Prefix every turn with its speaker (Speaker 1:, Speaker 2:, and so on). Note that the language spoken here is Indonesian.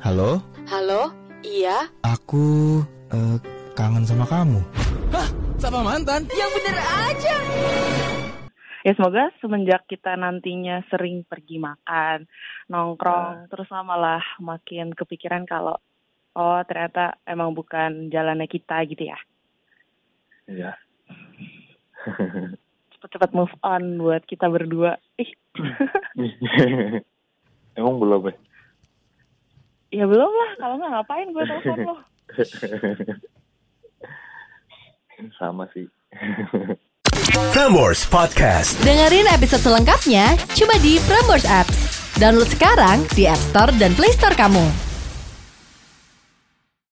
Speaker 1: Halo,
Speaker 2: Halo? Iya?
Speaker 1: aku eh, kangen sama kamu.
Speaker 3: Sama mantan?
Speaker 2: Yang bener aja.
Speaker 4: ya semoga semenjak kita nantinya sering pergi makan nongkrong terus lamalah makin kepikiran kalau oh ternyata emang bukan jalannya kita gitu ya
Speaker 5: Iya.
Speaker 4: cepet-cepet move on buat kita berdua ih
Speaker 5: Emang belum ya?
Speaker 4: ya belum lah kalau nggak ngapain gue telepon lo
Speaker 5: Sama sih.
Speaker 3: Prambors Podcast.
Speaker 6: Dengerin episode selengkapnya cuma di Prambors Apps. Download sekarang di App Store dan Play Store kamu.